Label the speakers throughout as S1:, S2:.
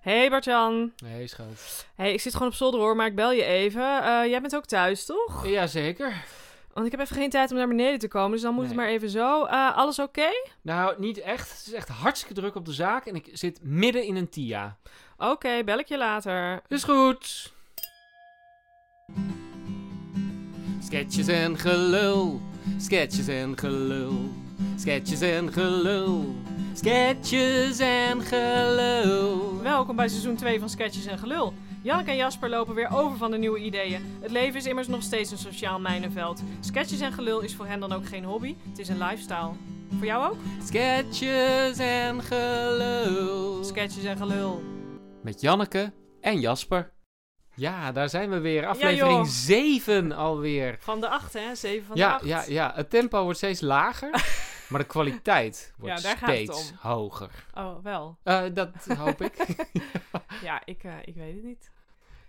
S1: Hey Bartjan.
S2: Nee, schat.
S1: Hey, ik zit gewoon op zolder hoor, maar ik bel je even. Eh, jij bent ook thuis, toch?
S2: Jazeker.
S1: Want ik heb even geen tijd om naar beneden te komen, dus dan moet het
S2: Nee.
S1: maar even zo. Eh, alles oké?
S2: Nou, niet echt. Het is echt hartstikke druk op de zaak en ik zit midden in een TIA.
S1: Oké, bel ik je later.
S2: Is goed. Sketches en gelul. Sketches en gelul. Sketches en gelul. Sketches en gelul.
S1: Welkom bij seizoen 2 van Sketches en Gelul. Janneke en Jasper lopen weer over van de nieuwe ideeën. Het leven is immers nog steeds een sociaal mijnenveld. Sketches en Gelul is voor hen dan ook geen hobby, het is een lifestyle. Voor jou ook?
S2: Sketches en gelul.
S1: Sketches en Gelul.
S2: Met Janneke en Jasper. Ja, daar zijn we weer.
S1: Ja,
S2: Aflevering
S1: joh.
S2: 7 alweer.
S1: Van de 8, hè? 7 van de
S2: ja,
S1: 8.
S2: ja, ja, het tempo wordt steeds lager, maar de kwaliteit wordt
S1: Ja, daar gaat het
S2: steeds
S1: om.
S2: hoger.
S1: Oh, wel.
S2: Eh, dat hoop ik.
S1: Ja, ik, eh, ik weet het niet.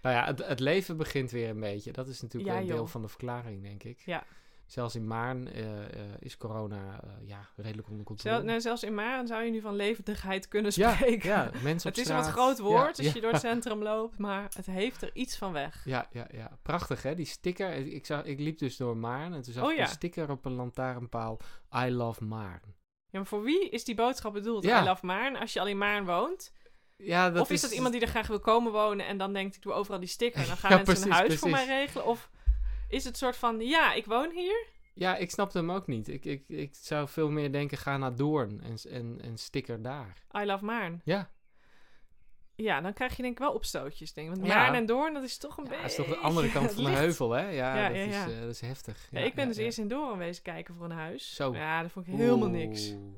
S2: nou ja, het, het leven begint weer een beetje. Dat is natuurlijk
S1: Ja,
S2: een deel
S1: joh.
S2: van de verklaring, denk ik.
S1: Ja.
S2: Zelfs in Maarn eh, eh, is corona eh, ja, redelijk onder controle.
S1: Zel, nou, zelfs in Maren zou je nu van levendigheid kunnen
S2: ja,
S1: spreken.
S2: ja, mensen op
S1: het is een
S2: straat.
S1: wat groot woord
S2: Ja,
S1: als
S2: ja,
S1: je door het centrum loopt, maar het heeft er iets van weg.
S2: ja, ja, ja. prachtig hè, die sticker. Ik, ik zag, ik liep dus door Maarn en toen zag
S1: Oh,
S2: ik
S1: ja.
S2: een sticker op een lantaarnpaal. I love Maarn.
S1: Ja, maar voor wie is die boodschap bedoeld?
S2: Ja.
S1: I love Maarn, als je alleen Maarn woont.
S2: Ja, dat
S1: of is, dat iemand die er graag wil komen wonen en dan denkt, ik doe overal die sticker. Dan gaan
S2: Ja,
S1: mensen een
S2: precies,
S1: huis voor mij
S2: precies.
S1: regelen. Of is het soort van, ja, ik woon hier.
S2: Ja, ik snapte hem ook niet. Ik, ik, ik zou veel meer denken, ga naar Doorn en, s- en, en sticker daar.
S1: I love Maarn.
S2: Ja,
S1: Ja, dan krijg je denk ik wel opstootjes. Denk ik. Want
S2: Ja.
S1: Maarn en Doorn, dat is toch een
S2: ja
S1: beetje...
S2: dat is toch de andere kant van de
S1: licht.
S2: heuvel, hè? Ja,
S1: Ja,
S2: dat,
S1: ja,
S2: Is,
S1: ja.
S2: eh, dat is heftig.
S1: Ja,
S2: Ja,
S1: ik ben
S2: ja,
S1: dus
S2: ja.
S1: eerst in Doorn wezen kijken voor een huis.
S2: Zo.
S1: Ja, dat vond ik helemaal niks.
S2: Oeh.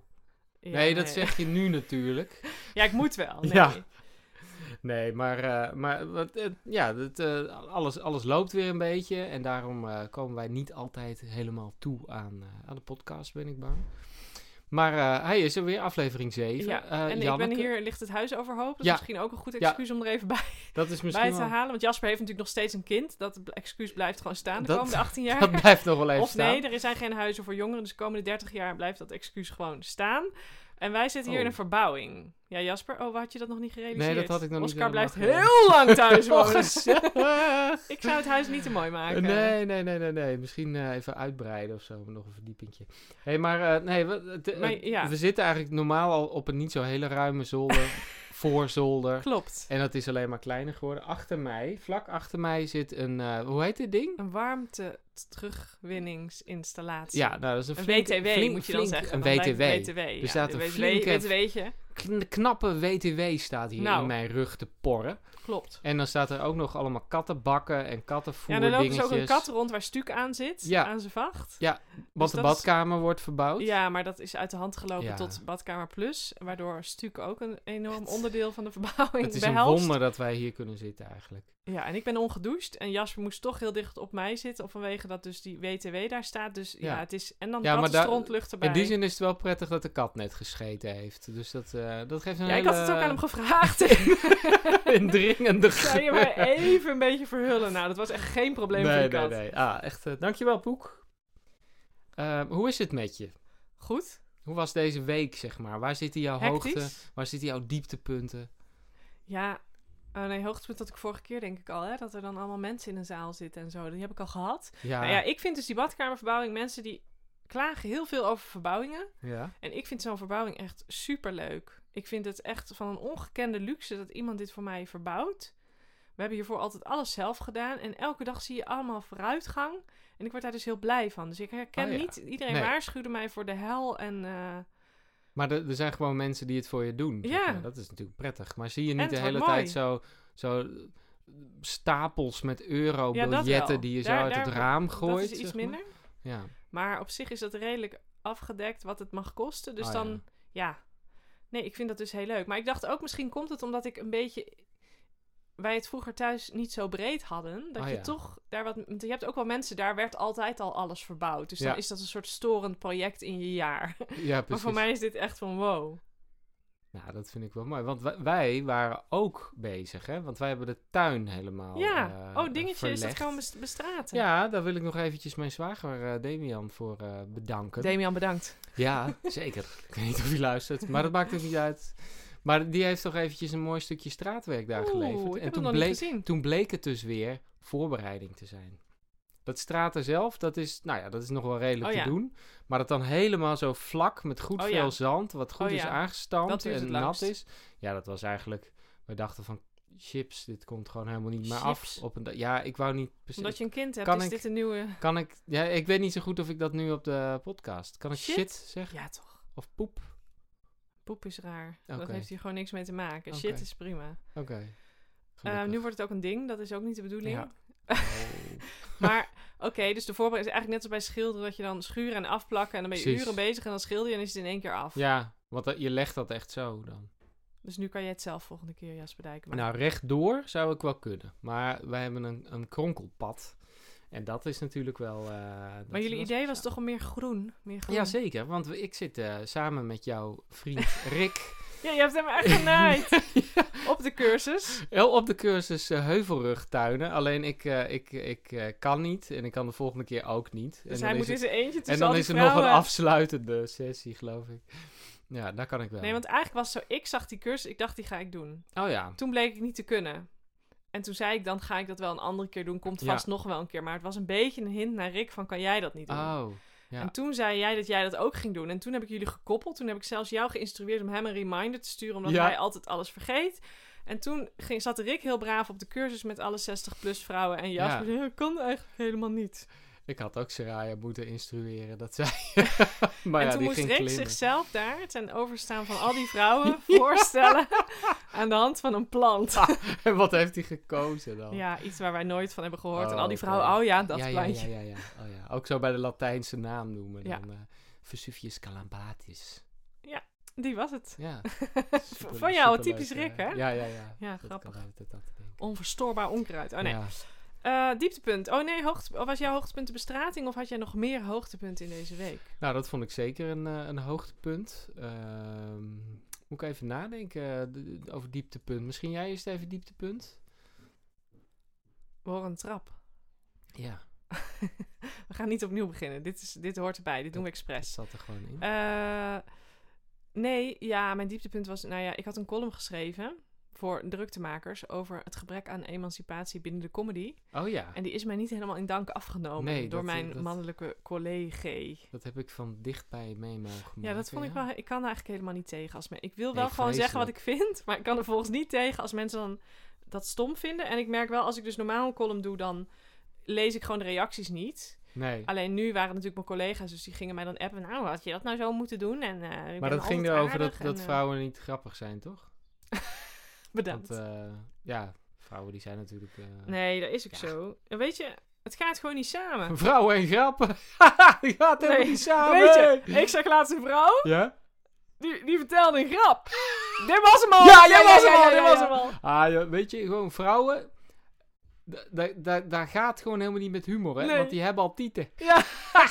S1: Ja,
S2: nee, dat zeg je nu natuurlijk.
S1: Ja, ik moet wel. Nee.
S2: Ja. Nee, maar, eh, maar wat, eh, ja, dat, eh, alles, alles loopt weer een beetje. En daarom eh, komen wij niet altijd helemaal toe aan, eh, aan de podcast, ben ik bang. Maar eh, hij is er weer, aflevering 7.
S1: Ja,
S2: Eh,
S1: en ik ben
S2: Janneke,
S1: hier, ligt het huis overhoop. Dat
S2: Ja.
S1: is misschien ook een goed
S2: Ja.
S1: excuus om er even bij,
S2: Dat is
S1: bij
S2: misschien
S1: te
S2: wel-
S1: halen. Want Jasper heeft natuurlijk nog steeds een kind. Dat excuus blijft gewoon staan de
S2: Dat-
S1: komende 18 jaar.
S2: Dat blijft nog wel even
S1: Of
S2: staan.
S1: nee, er zijn geen huizen voor jongeren, dus de komende 30 jaar blijft dat excuus gewoon staan. En wij zitten hier
S2: Oh.
S1: in een verbouwing. Ja, Jasper, oh, had je dat nog niet gerealiseerd?
S2: Nee, dat had ik nog niet
S1: Oscar blijft
S2: helemaal
S1: heel lang thuis
S2: Oh,
S1: wonen.
S2: gezellig.
S1: ik zou het huis niet te mooi maken.
S2: Nee, nee, nee, nee, nee. Misschien eh, even uitbreiden of zo, nog een verdiepingje. Hé, hey, maar eh, nee, we, het- het-
S1: Maar ja.
S2: we zitten eigenlijk normaal al op een niet zo hele ruime zolder, voorzolder.
S1: Klopt.
S2: En dat is alleen maar kleiner geworden. Achter mij, vlak achter mij zit een, eh, hoe heet dit ding?
S1: Een warmte terugwinningsinstallatie.
S2: Ja, nou, dat is een,
S1: Een
S2: flink-
S1: WTW
S2: flink-
S1: moet je dan
S2: flink-
S1: zeggen.
S2: Een
S1: dan blijft het
S2: WTW.
S1: WTW. Er
S2: staat een flinke-
S1: Weet, je?
S2: Kn- knappe WTW staat hier
S1: Nou.
S2: in mijn rug te porren.
S1: Klopt.
S2: En dan staat er ook nog allemaal kattenbakken en kattenvoer
S1: Ja, er loopt dus ook een kat rond waar Stuuk aan zit,
S2: Ja.
S1: aan zijn vacht. dus
S2: Want de
S1: dat is-
S2: badkamer wordt verbouwd.
S1: Ja, maar dat is uit de hand gelopen
S2: Ja.
S1: tot Badkamer Plus. Waardoor Stuk ook een enorm onderdeel van de verbouwing
S2: Het is een
S1: behelst.
S2: wonder dat wij hier kunnen zitten eigenlijk.
S1: Ja, en ik ben ongedoucht. En Jasper moest toch heel dicht op mij zitten. Vanwege dat dus die WTW daar staat. Dus ja,
S2: Ja.
S1: het is... En dan
S2: Ja, maar daar-
S1: kattenstront erbij.
S2: In die zin is het wel prettig dat de kat net gescheten heeft. Dus dat, eh, dat geeft een
S1: Ja, ik
S2: hele
S1: had het ook aan hem gevraagd.
S2: indringende
S1: Zou je
S2: geur.
S1: mij even een beetje verhullen? Nou, dat was echt geen probleem voor
S2: Nee,
S1: de
S2: nee,
S1: kat.
S2: nee. Ah, echt. eh, dankjewel, Poek. Ehm, hoe is het met je?
S1: Goed,
S2: Hoe was deze week, zeg maar? Waar zitten jouw
S1: hectisch.
S2: hoogte? Waar zitten jouw dieptepunten?
S1: Ja, oh nee, hoogtepunt had ik vorige keer denk ik al. Hè? Dat er dan allemaal mensen in een zaal zitten en zo. Die heb ik al gehad.
S2: Ja,
S1: Nou ja, ik vind dus die badkamerverbouwing... Mensen die klagen heel veel over verbouwingen.
S2: ja.
S1: En ik vind zo'n verbouwing echt superleuk. Ik vind het echt van een ongekende luxe dat iemand dit voor mij verbouwt. We hebben hiervoor altijd alles zelf gedaan. En elke dag zie je allemaal vooruitgang. En ik word daar dus heel blij van. Dus ik herken
S2: Oh ja.
S1: niet... Iedereen
S2: Nee.
S1: waarschuwde mij voor de hel. En, eh,
S2: Maar er, er zijn gewoon mensen die het voor je doen. zeg
S1: Ja.
S2: maar. Dat is natuurlijk prettig. Maar zie je
S1: En
S2: niet de
S1: het
S2: hele
S1: wordt
S2: tijd
S1: mooi.
S2: zo, zo eh, stapels met
S1: Ja, dat
S2: euro-biljetten
S1: wel.
S2: die je zo
S1: Daar-
S2: uit
S1: daar-
S2: het raam gooit?
S1: dat is iets
S2: zeg maar?
S1: minder.
S2: Ja.
S1: Maar op zich is dat redelijk afgedekt wat het mag kosten. Dus
S2: Oh,
S1: dan, ja. Nee, ik vind dat dus heel leuk. Maar ik dacht ook, misschien komt het omdat ik een beetje... Wij het vroeger thuis niet zo breed hadden. Dat
S2: Oh,
S1: je
S2: ja.
S1: toch daar wat... want Je hebt ook wel mensen, daar werd altijd al alles verbouwd. Dus
S2: Ja.
S1: dan is dat een soort storend project in je jaar.
S2: ja, precies.
S1: Maar voor mij is dit echt van wow.
S2: Nou, dat vind ik wel mooi. Want wij, wij waren ook bezig, hè? Want wij hebben de tuin helemaal.
S1: ja.
S2: eh,
S1: oh, dingetje is dat
S2: verlegd.
S1: gewoon bes- bestraten.
S2: Ja, daar wil ik nog eventjes mijn zwager eh, Damian voor eh, bedanken.
S1: Damian, bedankt.
S2: ja, zeker. ik weet niet of hij luistert, maar dat maakt ook niet uit. Maar die heeft toch eventjes een mooi stukje straatwerk daar geleverd.
S1: Oeh, ik heb
S2: toen
S1: hem nog
S2: bleek,
S1: niet gezien.
S2: toen bleek het dus weer voorbereiding te zijn. Dat straten zelf, dat is, nou ja, dat is nog wel redelijk
S1: Oh
S2: te
S1: ja.
S2: doen. Maar dat dan helemaal zo vlak met goed
S1: Oh
S2: veel
S1: ja.
S2: zand, wat goed
S1: Oh
S2: is
S1: ja. Dat
S2: aangestampt
S1: duurt
S2: en
S1: het
S2: nat
S1: langst.
S2: is. Ja, dat was eigenlijk, we dachten van chips, dit komt gewoon helemaal niet meer
S1: Chips?
S2: af. Op een, da- ja, Dus ik wou niet precies.
S1: Omdat je een kind hebt,
S2: Kan
S1: is
S2: ik-
S1: dit een nieuwe...
S2: Kan ik, ja, ik weet niet zo goed of ik dat nu op de podcast. Kan ik shit,
S1: Shit?
S2: zeggen?
S1: Ja, toch.
S2: Of poep?
S1: Poep is raar. Dat
S2: Oké.
S1: heeft hier gewoon niks mee te maken.
S2: Oké.
S1: Shit is prima.
S2: Oké.
S1: Eh,
S2: Gelukkig.
S1: nu wordt het ook een ding. Dat is ook niet de bedoeling.
S2: Ja. Oh.
S1: Maar oké, dus de voorbereiding is eigenlijk net als bij schilderen... dat je dan schuren en afplakken... en dan ben je
S2: Precies.
S1: uren bezig en dan schilder je... en is het in één keer af.
S2: Ja, want dat- je legt dat echt zo dan.
S1: Dus nu kan jij het zelf volgende keer, Jasper Dijkema.
S2: Nou, rechtdoor zou ik wel kunnen. Maar wij hebben een, een kronkelpad. En dat is natuurlijk wel... eh, dat
S1: maar
S2: is
S1: jullie
S2: wel
S1: idee was
S2: speciaal.
S1: toch al meer groen? Meer groen.
S2: Ja, zeker. Want we- ik zit eh, samen met jouw vriend Rick...
S1: Ja, je hebt hem echt genaaid op de cursus.
S2: Wel op de cursus eh, heuvelrugtuinen. Alleen ik, eh, ik, ik eh, kan niet. En ik kan de volgende keer ook niet. En
S1: Dus
S2: dan
S1: hij
S2: is
S1: moet
S2: het-
S1: in zijn eentje tussen
S2: En dan
S1: al die
S2: is er nog een
S1: vrouwen.
S2: afsluitende sessie, geloof ik. Ja, daar kan ik wel.
S1: Nee, want eigenlijk was het zo... Ik zag die cursus, ik dacht die ga ik doen.
S2: Oh ja.
S1: Toen bleek ik niet te kunnen. En toen zei ik, dan ga ik dat wel een andere keer doen. Komt
S2: Ja.
S1: vast nog wel een keer. Maar het was een beetje een hint naar Rick van, kan jij dat niet doen?
S2: Oh. ja.
S1: En toen zei jij dat jij dat ook ging doen. En toen heb ik jullie gekoppeld. Toen heb ik zelfs jou geïnstrueerd om hem een reminder te sturen. Omdat
S2: Ja.
S1: hij altijd alles vergeet. En toen ging, zat Rick heel braaf op de cursus met alle 60-plus vrouwen. En Jasper zei, "Ja, kan eigenlijk helemaal niet.
S2: Ik had ook Saraya moeten instrueren, dat zij... maar
S1: en
S2: ja,
S1: toen
S2: die
S1: moest
S2: ging
S1: Rick
S2: klimmen.
S1: zichzelf daar ten overstaan van al die vrouwen voorstellen. Aan de hand van een plant.
S2: En wat heeft hij gekozen dan?
S1: Ja, iets waar wij nooit van hebben gehoord. en
S2: Oh,
S1: al die
S2: oké.
S1: vrouwen, oh ja, dat
S2: ja, ja,
S1: plantje.
S2: ja, ja, ja. Oh, ja. Ook zo bij de Latijnse naam noemen.
S1: Ja.
S2: Dan, eh, Vesuvius Calabatis.
S1: Die was het.
S2: Ja.
S1: van jou,
S2: superleuk,
S1: typisch
S2: eh,
S1: Rick, hè?
S2: Ja, ja, ja.
S1: Ja,
S2: Dat
S1: grappig.
S2: kan uit het dat denken.
S1: Onverstoorbaar onkruid. Oh nee.
S2: Ja.
S1: Eh, dieptepunt. Oh nee, hoogte, was jouw hoogtepunt de bestrating of had jij nog meer hoogtepunten in deze week?
S2: Nou, dat vond ik zeker een, eh, een hoogtepunt. Ehm, moet ik even nadenken eh, d- d- over dieptepunt. Misschien jij eerst even dieptepunt?
S1: We horen een trap.
S2: Ja,
S1: We gaan niet opnieuw beginnen. Dit, is, dit hoort erbij. Dit doen we
S2: dat
S1: expres.
S2: zat er gewoon in.
S1: Eh, nee, ja, mijn dieptepunt was... Nou ja, ik had een column geschreven voor druktemakers... over het gebrek aan emancipatie binnen de comedy.
S2: oh ja,
S1: En die is mij niet helemaal in dank afgenomen
S2: Nee,
S1: door
S2: dat-
S1: mijn
S2: dat-
S1: mannelijke collega.
S2: dat heb ik van dichtbij mee mogen
S1: Ja, dat
S2: maken,
S1: vond ik wel... Ik kan daar eigenlijk helemaal niet tegen. Als men, ik wil
S2: Nee,
S1: wel gewoon zeggen wat ik
S2: vreselijk.
S1: vind... maar ik kan er volgens niet tegen als mensen dan dat stom vinden. En ik merk wel, als ik dus normaal een column doe... dan lees ik gewoon de reacties niet...
S2: Nee,
S1: Alleen nu waren het natuurlijk mijn collega's, dus die gingen mij dan appen. Nou, had je dat nou zo moeten doen? En, eh, ik ben
S2: maar dat ging
S1: altijd
S2: erover dat,
S1: aardig en,
S2: dat
S1: eh,
S2: vrouwen niet grappig zijn, toch?
S1: bedankt.
S2: Want eh, ja, vrouwen die zijn natuurlijk... eh,
S1: nee, dat is ook
S2: ja.
S1: zo. En weet je, het gaat gewoon niet samen.
S2: Vrouwen en grappen! Haha, die gaat helemaal
S1: Nee,
S2: niet samen!
S1: Weet je, ik zag laatst een vrouw,
S2: Ja?
S1: die, die vertelde een grap. dit was hem al!
S2: Ja,
S1: dit
S2: ja,
S1: was
S2: ja,
S1: hem al,
S2: ja,
S1: dit
S2: ja,
S1: was
S2: ja.
S1: hem al.
S2: Ah, ja, weet je, gewoon vrouwen... da- da- da- Daar gaat gewoon helemaal niet met humor, hè?
S1: Nee.
S2: Want die hebben al tieten.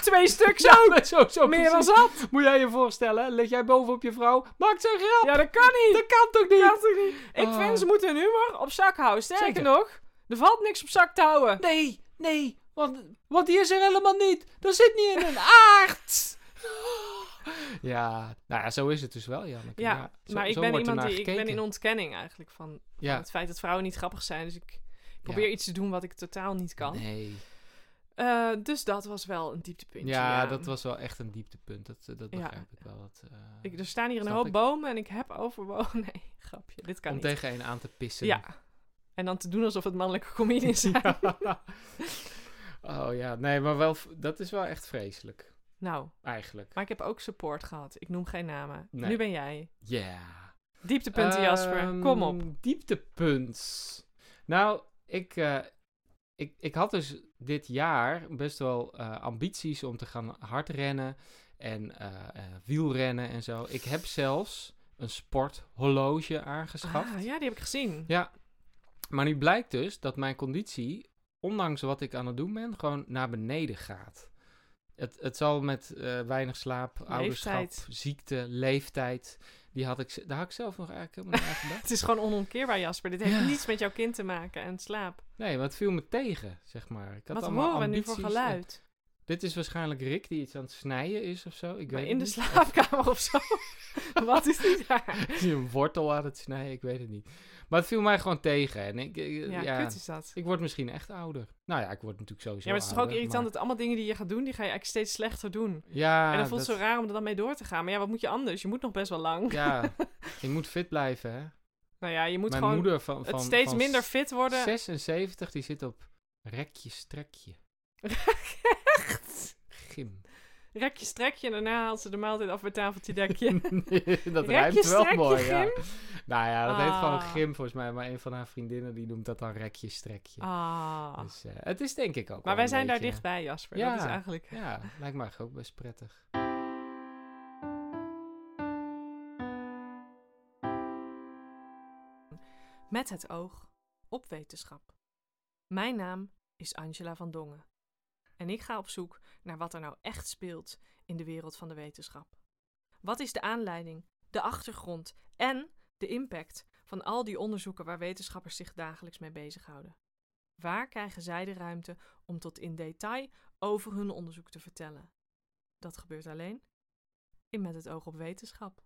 S1: Twee stuks
S2: Ja, maar zo, zo
S1: meer dan
S2: precies.
S1: zat.
S2: Moet jij je voorstellen, hè? lig jij boven op je vrouw, maak zo'n grap.
S1: Ja, dat kan niet.
S2: Dat kan toch niet?
S1: Dat kan toch niet. Ik
S2: Ah.
S1: vind, ze moeten hun humor op zak houden. Sterker
S2: Zeker.
S1: nog, er valt niks op zak te houden.
S2: Nee, nee, want, want die is er helemaal niet. Dat zit niet in een aard. Ja, nou ja, zo is het dus wel, Janneke.
S1: Ja,
S2: zo-
S1: maar ik
S2: zo
S1: ben
S2: wordt
S1: iemand
S2: ernaar
S1: die... Ik ben
S2: gekeken.
S1: in ontkenning eigenlijk van
S2: Ja,
S1: Het feit dat vrouwen niet grappig zijn. Dus ik probeer
S2: Ja.
S1: iets te doen wat ik totaal niet kan.
S2: Nee.
S1: Eh, dus dat was wel een dieptepuntje.
S2: Ja, dat was wel echt een dieptepunt. Dat, eh, dat
S1: Ja.
S2: begrijp ik wel. Dat, eh,
S1: Ik, dus er staan hier een
S2: Snap
S1: hoop
S2: ik.
S1: bomen en ik heb overwogen... Nee, grapje. Dit kan
S2: om
S1: niet.
S2: tegen een aan te pissen.
S1: Ja. En dan te doen alsof het mannelijke comedians zijn.
S2: oh ja, nee, maar wel, v- dat is wel echt vreselijk.
S1: Nou,
S2: Eigenlijk.
S1: maar ik heb ook support gehad. Ik noem geen namen.
S2: Nee.
S1: Nu ben jij.
S2: Ja.
S1: Dieptepunten, Jasper. Kom op.
S2: Ehm, Dieptepunt. Nou, ik, eh, ik, ik had dus dit jaar best wel eh, ambities om te gaan hardrennen en eh, eh, wielrennen en zo. Ik heb zelfs een sporthorloge aangeschaft.
S1: Ah, ja, die heb ik gezien.
S2: Ja. Maar nu blijkt dus dat mijn conditie, ondanks wat ik aan het doen ben, gewoon naar beneden gaat. Het, het zal met eh, weinig slaap, ouderschap,
S1: Leeftijd.
S2: ziekte, leeftijd. Die had ik, z- daar had ik zelf nog eigenlijk helemaal niet aan gedacht.
S1: Het is gewoon onomkeerbaar, Jasper. Dit heeft
S2: Ja.
S1: niets met jouw kind te maken en slaap.
S2: Nee, maar het viel me tegen, zeg maar. Ik had
S1: Wat
S2: allemaal
S1: horen we nu
S2: ambities
S1: voor
S2: en-
S1: geluid?
S2: Dit is waarschijnlijk Rick die iets aan het snijden is of zo. Ik
S1: Maar
S2: weet
S1: in de
S2: het niet.
S1: slaapkamer of zo. Wat is die daar?
S2: Is hij een wortel aan het snijden? Ik weet het niet. Maar het viel mij gewoon tegen. En ik, ik-
S1: Ja,
S2: ja,
S1: kut is dat.
S2: ik word misschien echt ouder. Nou ja, ik word natuurlijk sowieso
S1: Ja, maar het is toch ook
S2: ouder,
S1: irritant dat allemaal dingen die je gaat doen, die ga je eigenlijk steeds slechter doen.
S2: maar- Ja,
S1: en dan voelt het
S2: dat-
S1: zo raar om er dan mee door te gaan. Maar ja, wat moet je anders? Je moet nog best wel lang.
S2: Ja, je moet fit blijven, hè.
S1: Nou ja, je moet
S2: Mijn
S1: gewoon
S2: moeder van, van,
S1: het steeds
S2: van
S1: minder fit worden.
S2: 76, die zit op rekje strekje. Gym.
S1: Rekje, strekje en daarna haalt ze de maaltijd af bij tafeltje dekje.
S2: dat
S1: Rekje,
S2: rijmt wel
S1: strekje,
S2: mooi, ja.
S1: gym?
S2: Nou ja, dat heet gewoon
S1: Ah.
S2: gym volgens mij. Maar een van haar vriendinnen die noemt dat dan rekje strekje.
S1: Ah.
S2: Dus, eh, het is denk ik ook wel
S1: Maar wij
S2: een
S1: zijn daar
S2: beetje-
S1: dichtbij, Jasper.
S2: Ja.
S1: Dat is eigenlijk...
S2: Ja, lijkt me eigenlijk ook best prettig.
S1: Met het oog op wetenschap. Mijn naam is Angela van Dongen. En ik ga op zoek naar wat er nou echt speelt in de wereld van de wetenschap. Wat is de aanleiding, de achtergrond en de impact van al die onderzoeken waar wetenschappers zich dagelijks mee bezighouden? Waar krijgen zij de ruimte om tot in detail over hun onderzoek te vertellen? Dat gebeurt alleen in Met het oog op wetenschap.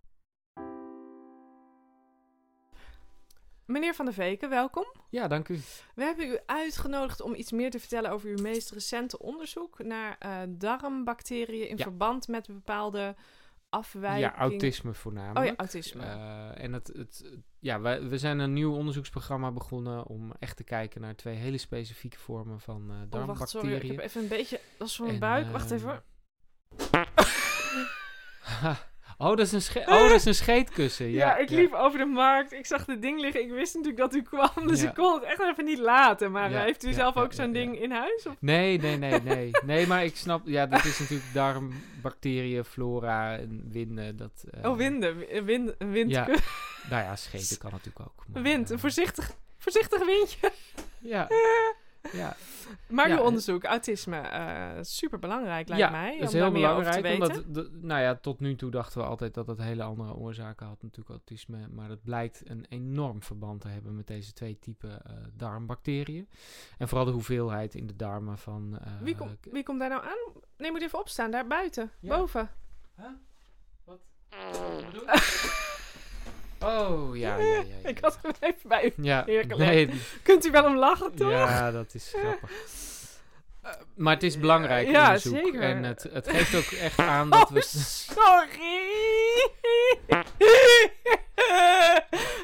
S1: Meneer Van der Veken, welkom.
S2: Ja, dank u.
S1: We hebben u uitgenodigd om iets meer te vertellen over uw meest recente onderzoek naar eh, darmbacteriën in
S2: Ja.
S1: verband met bepaalde afwijkingen.
S2: Ja, autisme
S1: Oh
S2: voornamelijk.
S1: ja, autisme.
S2: Eh, en het, het, het- ja, wij, we zijn een nieuw onderzoeksprogramma begonnen om echt te kijken naar twee hele specifieke vormen van eh
S1: oh,
S2: darmbacteriën.
S1: wacht, sorry. Ik heb even een beetje last van mijn
S2: En,
S1: buik. Wacht even.
S2: ehm,
S1: hoor.
S2: oh, dat is een, sche- oh, dat is een scheetkussen. Ja,
S1: Ja, ik liep over de markt. Ik zag dit ding liggen. Ik wist natuurlijk dat u kwam, dus
S2: Ja.
S1: ik kon het echt even niet laten. Maar
S2: Ja,
S1: eh, heeft u
S2: ja,
S1: zelf
S2: ja,
S1: ook
S2: ja,
S1: zo'n
S2: ja.
S1: ding in huis? Of?
S2: Nee, nee, nee, nee. Nee, maar ik snap... Ja, dat is natuurlijk darmbacteriën, flora en winden. Dat, eh,
S1: Oh, winden. eh, Wind, een wind.
S2: Ja, nou ja, scheten kan natuurlijk ook. maar,
S1: wind. Een
S2: eh,
S1: voorzichtig, voorzichtig windje.
S2: Ja. Ja,
S1: Maar
S2: Ja,
S1: uw
S2: en-
S1: onderzoek, autisme, super belangrijk lijkt mij.
S2: dat is
S1: om
S2: heel
S1: daar meer over te
S2: belangrijk.
S1: weten.
S2: Omdat, de- nou ja, tot nu toe dachten we altijd dat dat hele andere oorzaken had, natuurlijk autisme. Maar dat blijkt een enorm verband te hebben met deze twee typen eh, darmbacteriën. En vooral de hoeveelheid in de darmen van... eh,
S1: Wie, kom,
S2: k-
S1: wie komt daar nou aan? Nee, moet even opstaan, daar buiten,
S2: Ja.
S1: boven.
S2: Oh, ja, ja, ja. ja,
S1: Ik
S2: ja.
S1: had hem even bij u.
S2: Ja,
S1: Heerlijk.
S2: nee,
S1: Kunt u wel om lachen, toch?
S2: Ja, dat is grappig. Maar het is belangrijk
S1: Ja,
S2: onderzoek.
S1: zeker. Oh.
S2: En het, het geeft ook echt aan dat we...
S1: Sorry!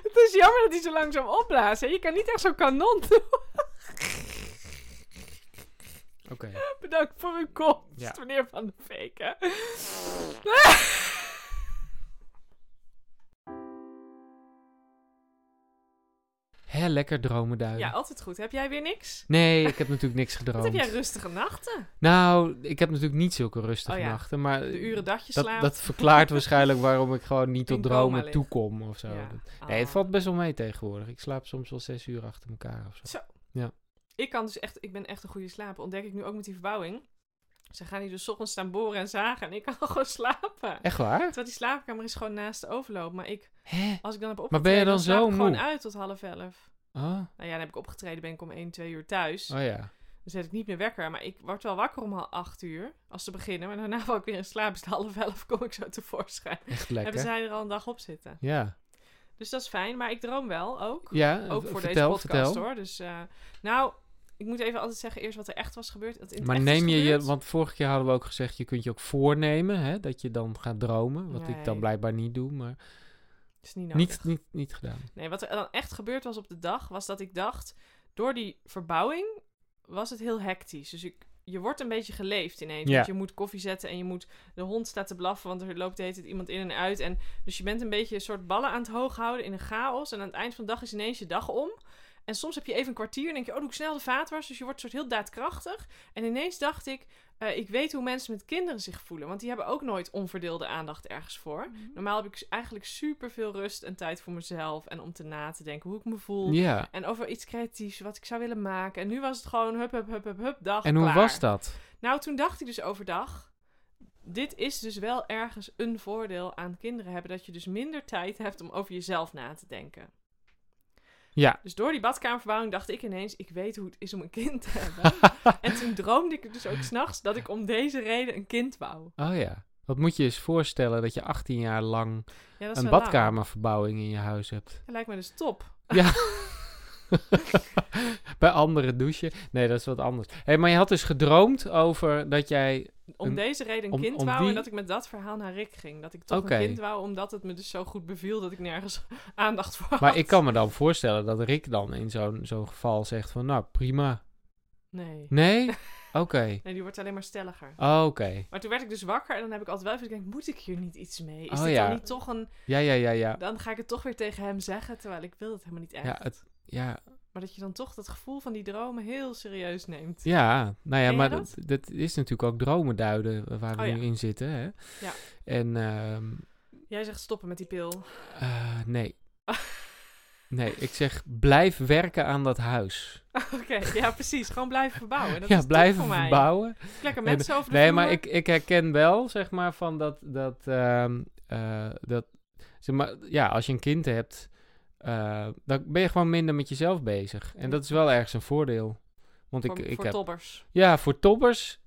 S1: Het is jammer dat hij zo langzaam opblaast. hè. Je kan niet echt zo'n kanon doen.
S2: Oké,
S1: Bedankt voor uw komst,
S2: Ja.
S1: meneer Van de Veken.
S2: hè, lekker dromen duiden.
S1: Ja, altijd goed. Heb jij weer niks?
S2: Nee, ik heb natuurlijk niks gedroomd.
S1: Wat heb jij rustige nachten?
S2: Nou, ik heb natuurlijk niet zulke rustige
S1: Oh ja,
S2: nachten, maar
S1: De uren dat je
S2: Eh, dat,
S1: slaapt?
S2: dat verklaart waarschijnlijk waarom ik gewoon niet tot
S1: In coma
S2: dromen
S1: ligt.
S2: toekom of zo.
S1: Ja.
S2: Dat- Nee, het
S1: Ah.
S2: valt best wel mee tegenwoordig. Ik slaap soms wel zes uur achter elkaar of zo.
S1: Ik kan dus echt, ik ben echt een goede slaper. Ontdek ik nu ook met die verbouwing. Ze gaan hier dus 's ochtends staan boren en zagen en ik kan gewoon slapen.
S2: Echt waar?
S1: Terwijl die slaapkamer is gewoon naast de overloop. Maar ik,
S2: Hè?
S1: als ik dan heb opgetreden,
S2: Maar ben je dan
S1: slaap
S2: zo
S1: ik gewoon
S2: moe?
S1: uit tot half elf.
S2: Oh,
S1: Nou ja, dan heb ik opgetreden, ben ik om 1, 2 uur thuis.
S2: oh ja.
S1: Dan zet ik niet meer wekker. Maar ik word wel wakker om half 8 uur, als ze beginnen. Maar daarna val ik weer in slaap. Is het half elf, kom ik zo tevoorschijn.
S2: Echt
S1: Hebben
S2: lekker.
S1: zij er al een dag op zitten.
S2: Ja.
S1: Dus dat is fijn, maar ik droom wel ook.
S2: Ja,
S1: Ook
S2: Eh, v-
S1: voor
S2: vertel,
S1: deze podcast
S2: vertel.
S1: hoor. Dus eh, nou, ik moet even altijd zeggen eerst wat er echt was gebeurd. Wat in het
S2: Maar
S1: echt is
S2: neem je je,
S1: gebeurd.
S2: want vorige keer hadden we ook gezegd, je kunt je ook voornemen, hè, dat je dan gaat dromen. Wat ik dan
S1: Nee.
S2: blijkbaar niet doe, maar
S1: Is niet nodig.
S2: niet, niet, niet gedaan.
S1: Nee, wat er dan echt gebeurd was op de dag, was dat ik dacht, door die verbouwing was het heel hectisch. Dus ik, je wordt een beetje geleefd ineens.
S2: Ja.
S1: Want je moet koffie zetten en je moet, de hond staat te blaffen, want er loopt de hele tijd iemand in en uit. En, dus je bent een beetje een soort ballen aan het hoog houden in een chaos. En aan het eind van de dag is ineens je dag om. En soms heb je even een kwartier en denk je, oh, doe ik snel de vaatwas. Dus je wordt een soort heel daadkrachtig. En ineens dacht ik, eh, ik weet hoe mensen met kinderen zich voelen. Want die hebben ook nooit onverdeelde aandacht ergens voor.
S2: Mhm.
S1: Normaal heb ik s- eigenlijk super veel rust en tijd voor mezelf. En om te na te denken hoe ik me voel.
S2: Ja.
S1: En over iets creatiefs, wat ik zou willen maken. En nu was het gewoon hup, hup, hup, hup, hup, dag,
S2: En hoe
S1: klaar.
S2: was dat?
S1: Nou, toen dacht ik dus overdag... Dit is dus wel ergens een voordeel aan kinderen hebben. Dat je dus minder tijd hebt om over jezelf na te denken.
S2: Ja.
S1: Dus door die badkamerverbouwing dacht ik ineens, ik weet hoe het is om een kind te hebben. en toen droomde ik dus ook s'nachts dat ik om deze reden een kind wou.
S2: Oh ja. Wat moet je eens voorstellen dat je 18 jaar lang
S1: Ja, dat is
S2: een
S1: wel
S2: badkamerverbouwing in je huis hebt.
S1: laag. Dat lijkt me dus top.
S2: Ja. Bij anderen douchen. Nee, dat is wat anders. hey, maar je had dus gedroomd over dat jij...
S1: Om
S2: Een-
S1: deze reden een
S2: om-
S1: kind
S2: om
S1: wou
S2: die-
S1: en dat ik met dat verhaal naar Rick ging. Dat ik toch
S2: Oké.
S1: een kind wou, omdat het me dus zo goed beviel dat ik nergens aandacht voor had.
S2: Maar ik kan me dan voorstellen dat Rick dan in zo'n zo'n geval zegt van... Nou, prima.
S1: Nee.
S2: Nee? Oké. Oh,
S1: Nee, die wordt alleen maar stelliger.
S2: Oké.
S1: Maar toen werd ik dus wakker en dan heb ik altijd wel even gedacht, moet ik hier niet iets mee? Is
S2: Oh
S1: dit
S2: ja.
S1: dan niet toch een...
S2: Ja, ja, ja, ja.
S1: Dan ga ik het toch weer tegen hem zeggen, terwijl ik wil dat helemaal niet echt.
S2: Ja, het, ja,
S1: Maar dat je dan toch dat gevoel van die dromen heel serieus neemt.
S2: Ja, nou ja,
S1: jij
S2: maar
S1: dat?
S2: dat, dat is natuurlijk ook dromen duiden eh, waar we
S1: Oh ja.
S2: nu in zitten. Hè?
S1: Ja.
S2: En ehm,
S1: Jij zegt stoppen met die pil.
S2: eh, nee. Nee, ik zeg blijf werken aan dat huis.
S1: Oké, ja precies. Gewoon blijven verbouwen. Dat
S2: ja,
S1: is blijven
S2: blijven
S1: voor mij.
S2: verbouwen.
S1: Lekker
S2: Nee,
S1: mensen over de
S2: Nee,
S1: vloer.
S2: maar ik, ik herken wel, zeg maar, van dat, dat, ehm, eh, dat zeg maar, ja, als je een kind hebt, eh, dan ben je gewoon minder met jezelf bezig. En dat is wel ergens een voordeel. Want
S1: voor,
S2: ik, ik
S1: voor
S2: heb,
S1: tobbers.
S2: ja, voor toppers,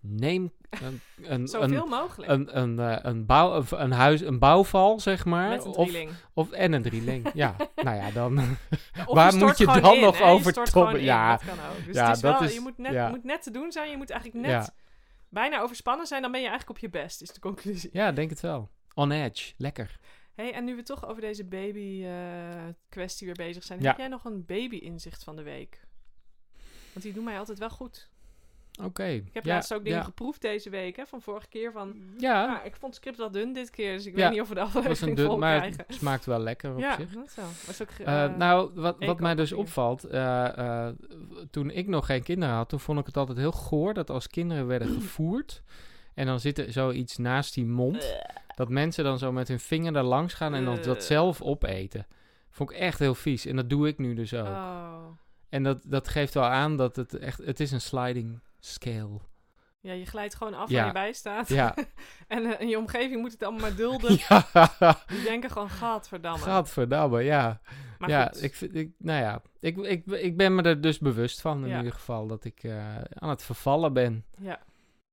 S2: neem een, een, een,
S1: Zoveel mogelijk.
S2: een, een, eh, een, bouw, een, een huis, een bouwval, zeg maar.
S1: met een
S2: of,
S1: drieling.
S2: of, en een drieling. ja, nou ja, dan.
S1: Of
S2: waar
S1: stort
S2: moet je
S1: gewoon
S2: dan
S1: in,
S2: nog
S1: hè? Je
S2: over
S1: stort
S2: tobben?
S1: gewoon in,
S2: Ja.
S1: dat kan ook. Dus
S2: Ja,
S1: het is
S2: dat
S1: wel,
S2: is-
S1: je moet net,
S2: ja.
S1: moet net te doen zijn. Je moet eigenlijk net
S2: Ja.
S1: bijna overspannen zijn. Dan ben je eigenlijk op je best, is de conclusie.
S2: ja, denk het wel. On edge, lekker.
S1: Hey, en nu we toch over deze baby eh, kwestie weer bezig zijn.
S2: Ja.
S1: Heb jij nog een baby inzicht van de week? Want die doen mij altijd wel goed.
S2: Oké.
S1: Ik heb
S2: ja,
S1: laatst ook dingen
S2: ja.
S1: geproefd deze week, hè, van vorige keer. Van,
S2: Ja,
S1: ah, ik vond het script wel dun dit keer, dus ik
S2: Ja,
S1: weet niet of we de
S2: het was een
S1: aflevering vol
S2: dun, maar
S1: krijgen.
S2: het smaakt wel lekker op
S1: Ja,
S2: zich.
S1: dat zo. Was ook,
S2: Eh,
S1: eh,
S2: nou, wat, wat mij
S1: eekhoornpapier.
S2: dus opvalt, eh, eh, toen ik nog geen kinderen had, toen vond ik het altijd heel goor dat als kinderen werden gevoerd en dan zit er zoiets naast die mond, dat mensen dan zo met hun vinger er langs gaan en dan dat
S1: Eh.
S2: zelf opeten. Vond ik echt heel vies en dat doe ik nu dus ook.
S1: oh.
S2: En dat, dat geeft wel aan dat het echt, het is een sliding scale.
S1: Ja, je glijdt gewoon af
S2: Ja.
S1: waar je bij staat.
S2: Ja,
S1: En eh, in je omgeving moet het allemaal maar dulden.
S2: ja.
S1: Die denken gewoon, gadverdamme.
S2: gadverdamme, ja.
S1: maar
S2: ja,
S1: goed,
S2: ik vind, ik, nou ja, ik, ik, ik ben me er dus bewust van in
S1: Ja.
S2: ieder geval dat ik eh, aan het vervallen ben.
S1: ja,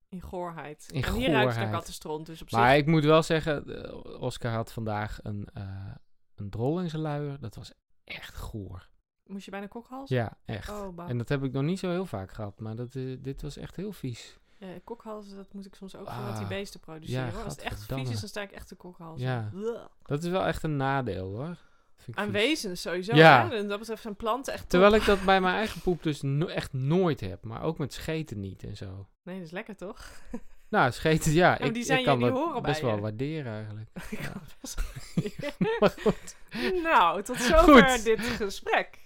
S1: in goorheid.
S2: In
S1: en hier ruikt het naar
S2: goorheid.
S1: kattenstront, dus op
S2: Maar
S1: zich...
S2: ik moet wel zeggen, eh, Oscar had vandaag een, eh, een drol in zijn luier. Dat was echt goor.
S1: Moest je bijna kokhals?
S2: Ja, echt.
S1: Oh, bah.
S2: En dat heb ik nog niet zo heel vaak gehad, maar dat, eh, dit was echt heel vies.
S1: Ja, kokhalzen, dat moet ik soms ook doen, want die
S2: Ah,
S1: beesten produceren.
S2: ja,
S1: hoor. Als het echt vies
S2: gadverdamme.
S1: is, dan sta ik echt te kokhalzen.
S2: Ja.
S1: Bleh.
S2: Dat is wel echt een nadeel hoor. Dat vind ik vies.
S1: Aan wezens sowieso.
S2: Ja.
S1: hè. En dat betreft zijn planten echt top.
S2: Terwijl ik dat bij mijn eigen poep dus no- echt nooit heb, maar ook met scheten niet en zo.
S1: Nee, dat is lekker toch?
S2: Nou, scheten, ja,
S1: maar
S2: ik,
S1: die
S2: ik
S1: zijn je-
S2: kan
S1: die
S2: dat
S1: horen bij
S2: best wel
S1: je.
S2: waarderen eigenlijk.
S1: Ik
S2: Ja.
S1: kan het best wel-
S2: Maar goed.
S1: nou, tot zover
S2: Goed.
S1: dit gesprek.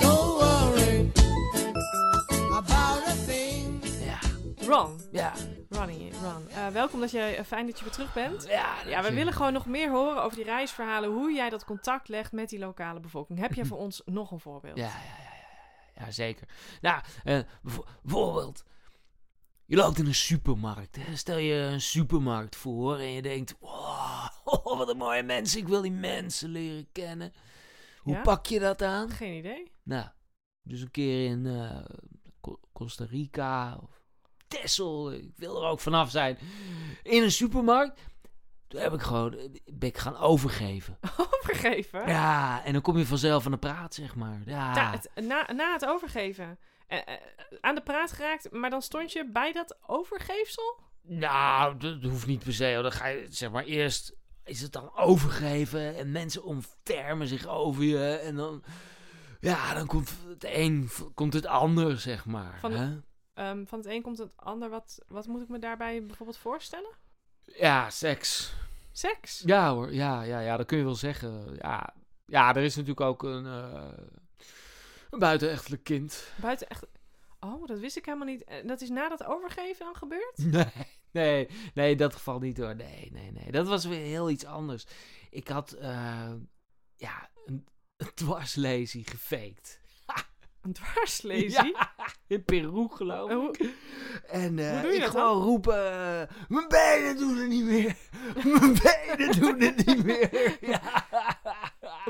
S3: Don't worry about a thing.
S1: Ron,
S2: Ja,
S1: Ronnie, Ron. eh, welkom dat je, eh, fijn dat je weer terug bent.
S2: ja,
S1: Ja, we willen gewoon nog meer horen over die reisverhalen. Hoe jij dat contact legt met die lokale bevolking. Heb jij voor ons nog een voorbeeld?
S4: Ja, ja, ja, ja, ja, ja, zeker. Nou, eh, bijvo- bijvoorbeeld, je loopt in een supermarkt. Hè? Stel je een supermarkt voor en je denkt, wow, wat een mooie mensen, ik wil die mensen leren kennen. Hoe
S1: Ja?
S4: pak je dat aan?
S1: Geen idee.
S4: Nou, dus een keer in eh, Co- Costa Rica of Texel, ik wil er ook vanaf zijn, in een supermarkt. Toen heb ik gewoon, eh, ben ik gaan overgeven.
S1: Overgeven?
S4: Ja, en dan kom je vanzelf aan de praat, zeg maar.
S1: Ta-
S4: Ja,
S1: het- na, na het overgeven. Eh, eh, aan de praat geraakt, maar dan stond je bij dat overgeefsel?
S4: Nou, dat hoeft niet per se. hoor. Dan ga je, zeg maar, eerst is het dan overgeven en mensen ontfermen zich over je. En dan, ja, dan komt het een, v- komt het ander, zeg maar.
S1: Van-
S4: hè?
S1: Ehm, van het een komt het ander. Wat, wat moet ik me daarbij bijvoorbeeld voorstellen?
S4: Ja, seks.
S1: Seks?
S4: Ja hoor, ja, ja, ja, dat kun je wel zeggen. Ja, ja er is natuurlijk ook een, eh een buitenechtelijk kind.
S1: Buiten echt... Oh, dat wist ik helemaal niet. Eh, Dat is na dat overgeven dan gebeurd?
S4: Nee, nee, nee, in dat geval niet hoor. Nee, nee, nee. Dat was weer heel iets anders. Ik had, eh, ja, een, een dwarslezing gefaked.
S1: Een dwarslesie?
S4: Ja,
S2: in Peru, geloof
S1: En
S2: ik.
S1: hoe-
S4: En eh,
S1: Hoe doe je
S4: ik
S1: dat
S4: gewoon roepen, eh, mijn benen doen het niet meer. mijn benen doen het niet meer. ja.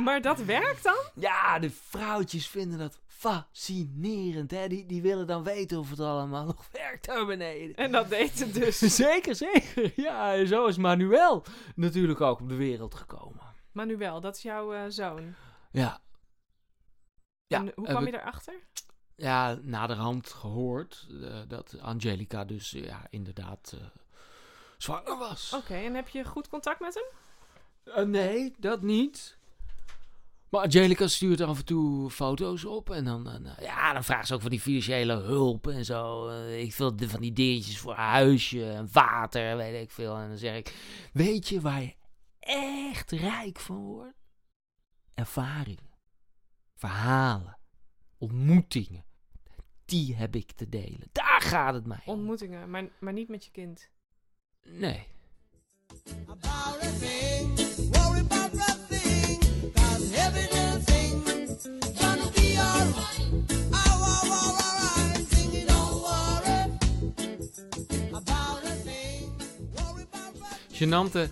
S1: maar dat werkt dan?
S4: ja, de vrouwtjes vinden dat fascinerend. Hè? Die, die willen dan weten of het allemaal nog werkt daar beneden.
S1: En dat deed het dus.
S4: Zeker, zeker. Ja, en zo is Manuel natuurlijk ook op de wereld gekomen.
S1: Manuel, dat is jouw eh, zoon.
S4: Ja. Ja,
S1: en hoe
S4: eh,
S1: kwam
S4: we-
S1: je daarachter?
S4: ja, naderhand gehoord eh, dat Angelica dus eh, ja, inderdaad eh, zwanger was.
S1: Oké, en heb je goed contact met hem?
S4: Eh, nee, dat niet. Maar Angelica stuurt af en toe foto's op. En dan, dan, eh, ja, dan vraagt ze ook van die financiële hulp en zo. Eh, ik wil de- van die dingetjes voor haar huisje en water, weet ik veel. En dan zeg ik, weet je waar je echt rijk van wordt? Ervaringen. Verhalen. Ontmoetingen. Die heb ik te delen. Daar gaat het mij om.
S1: Ontmoetingen, maar, maar niet met je kind.
S4: Nee.
S3: about a thing, worry about a thing, cause every little thing gonna be alright. Oh, oh, oh, alright, singing, don't worry about a thing, worry about a
S2: Genante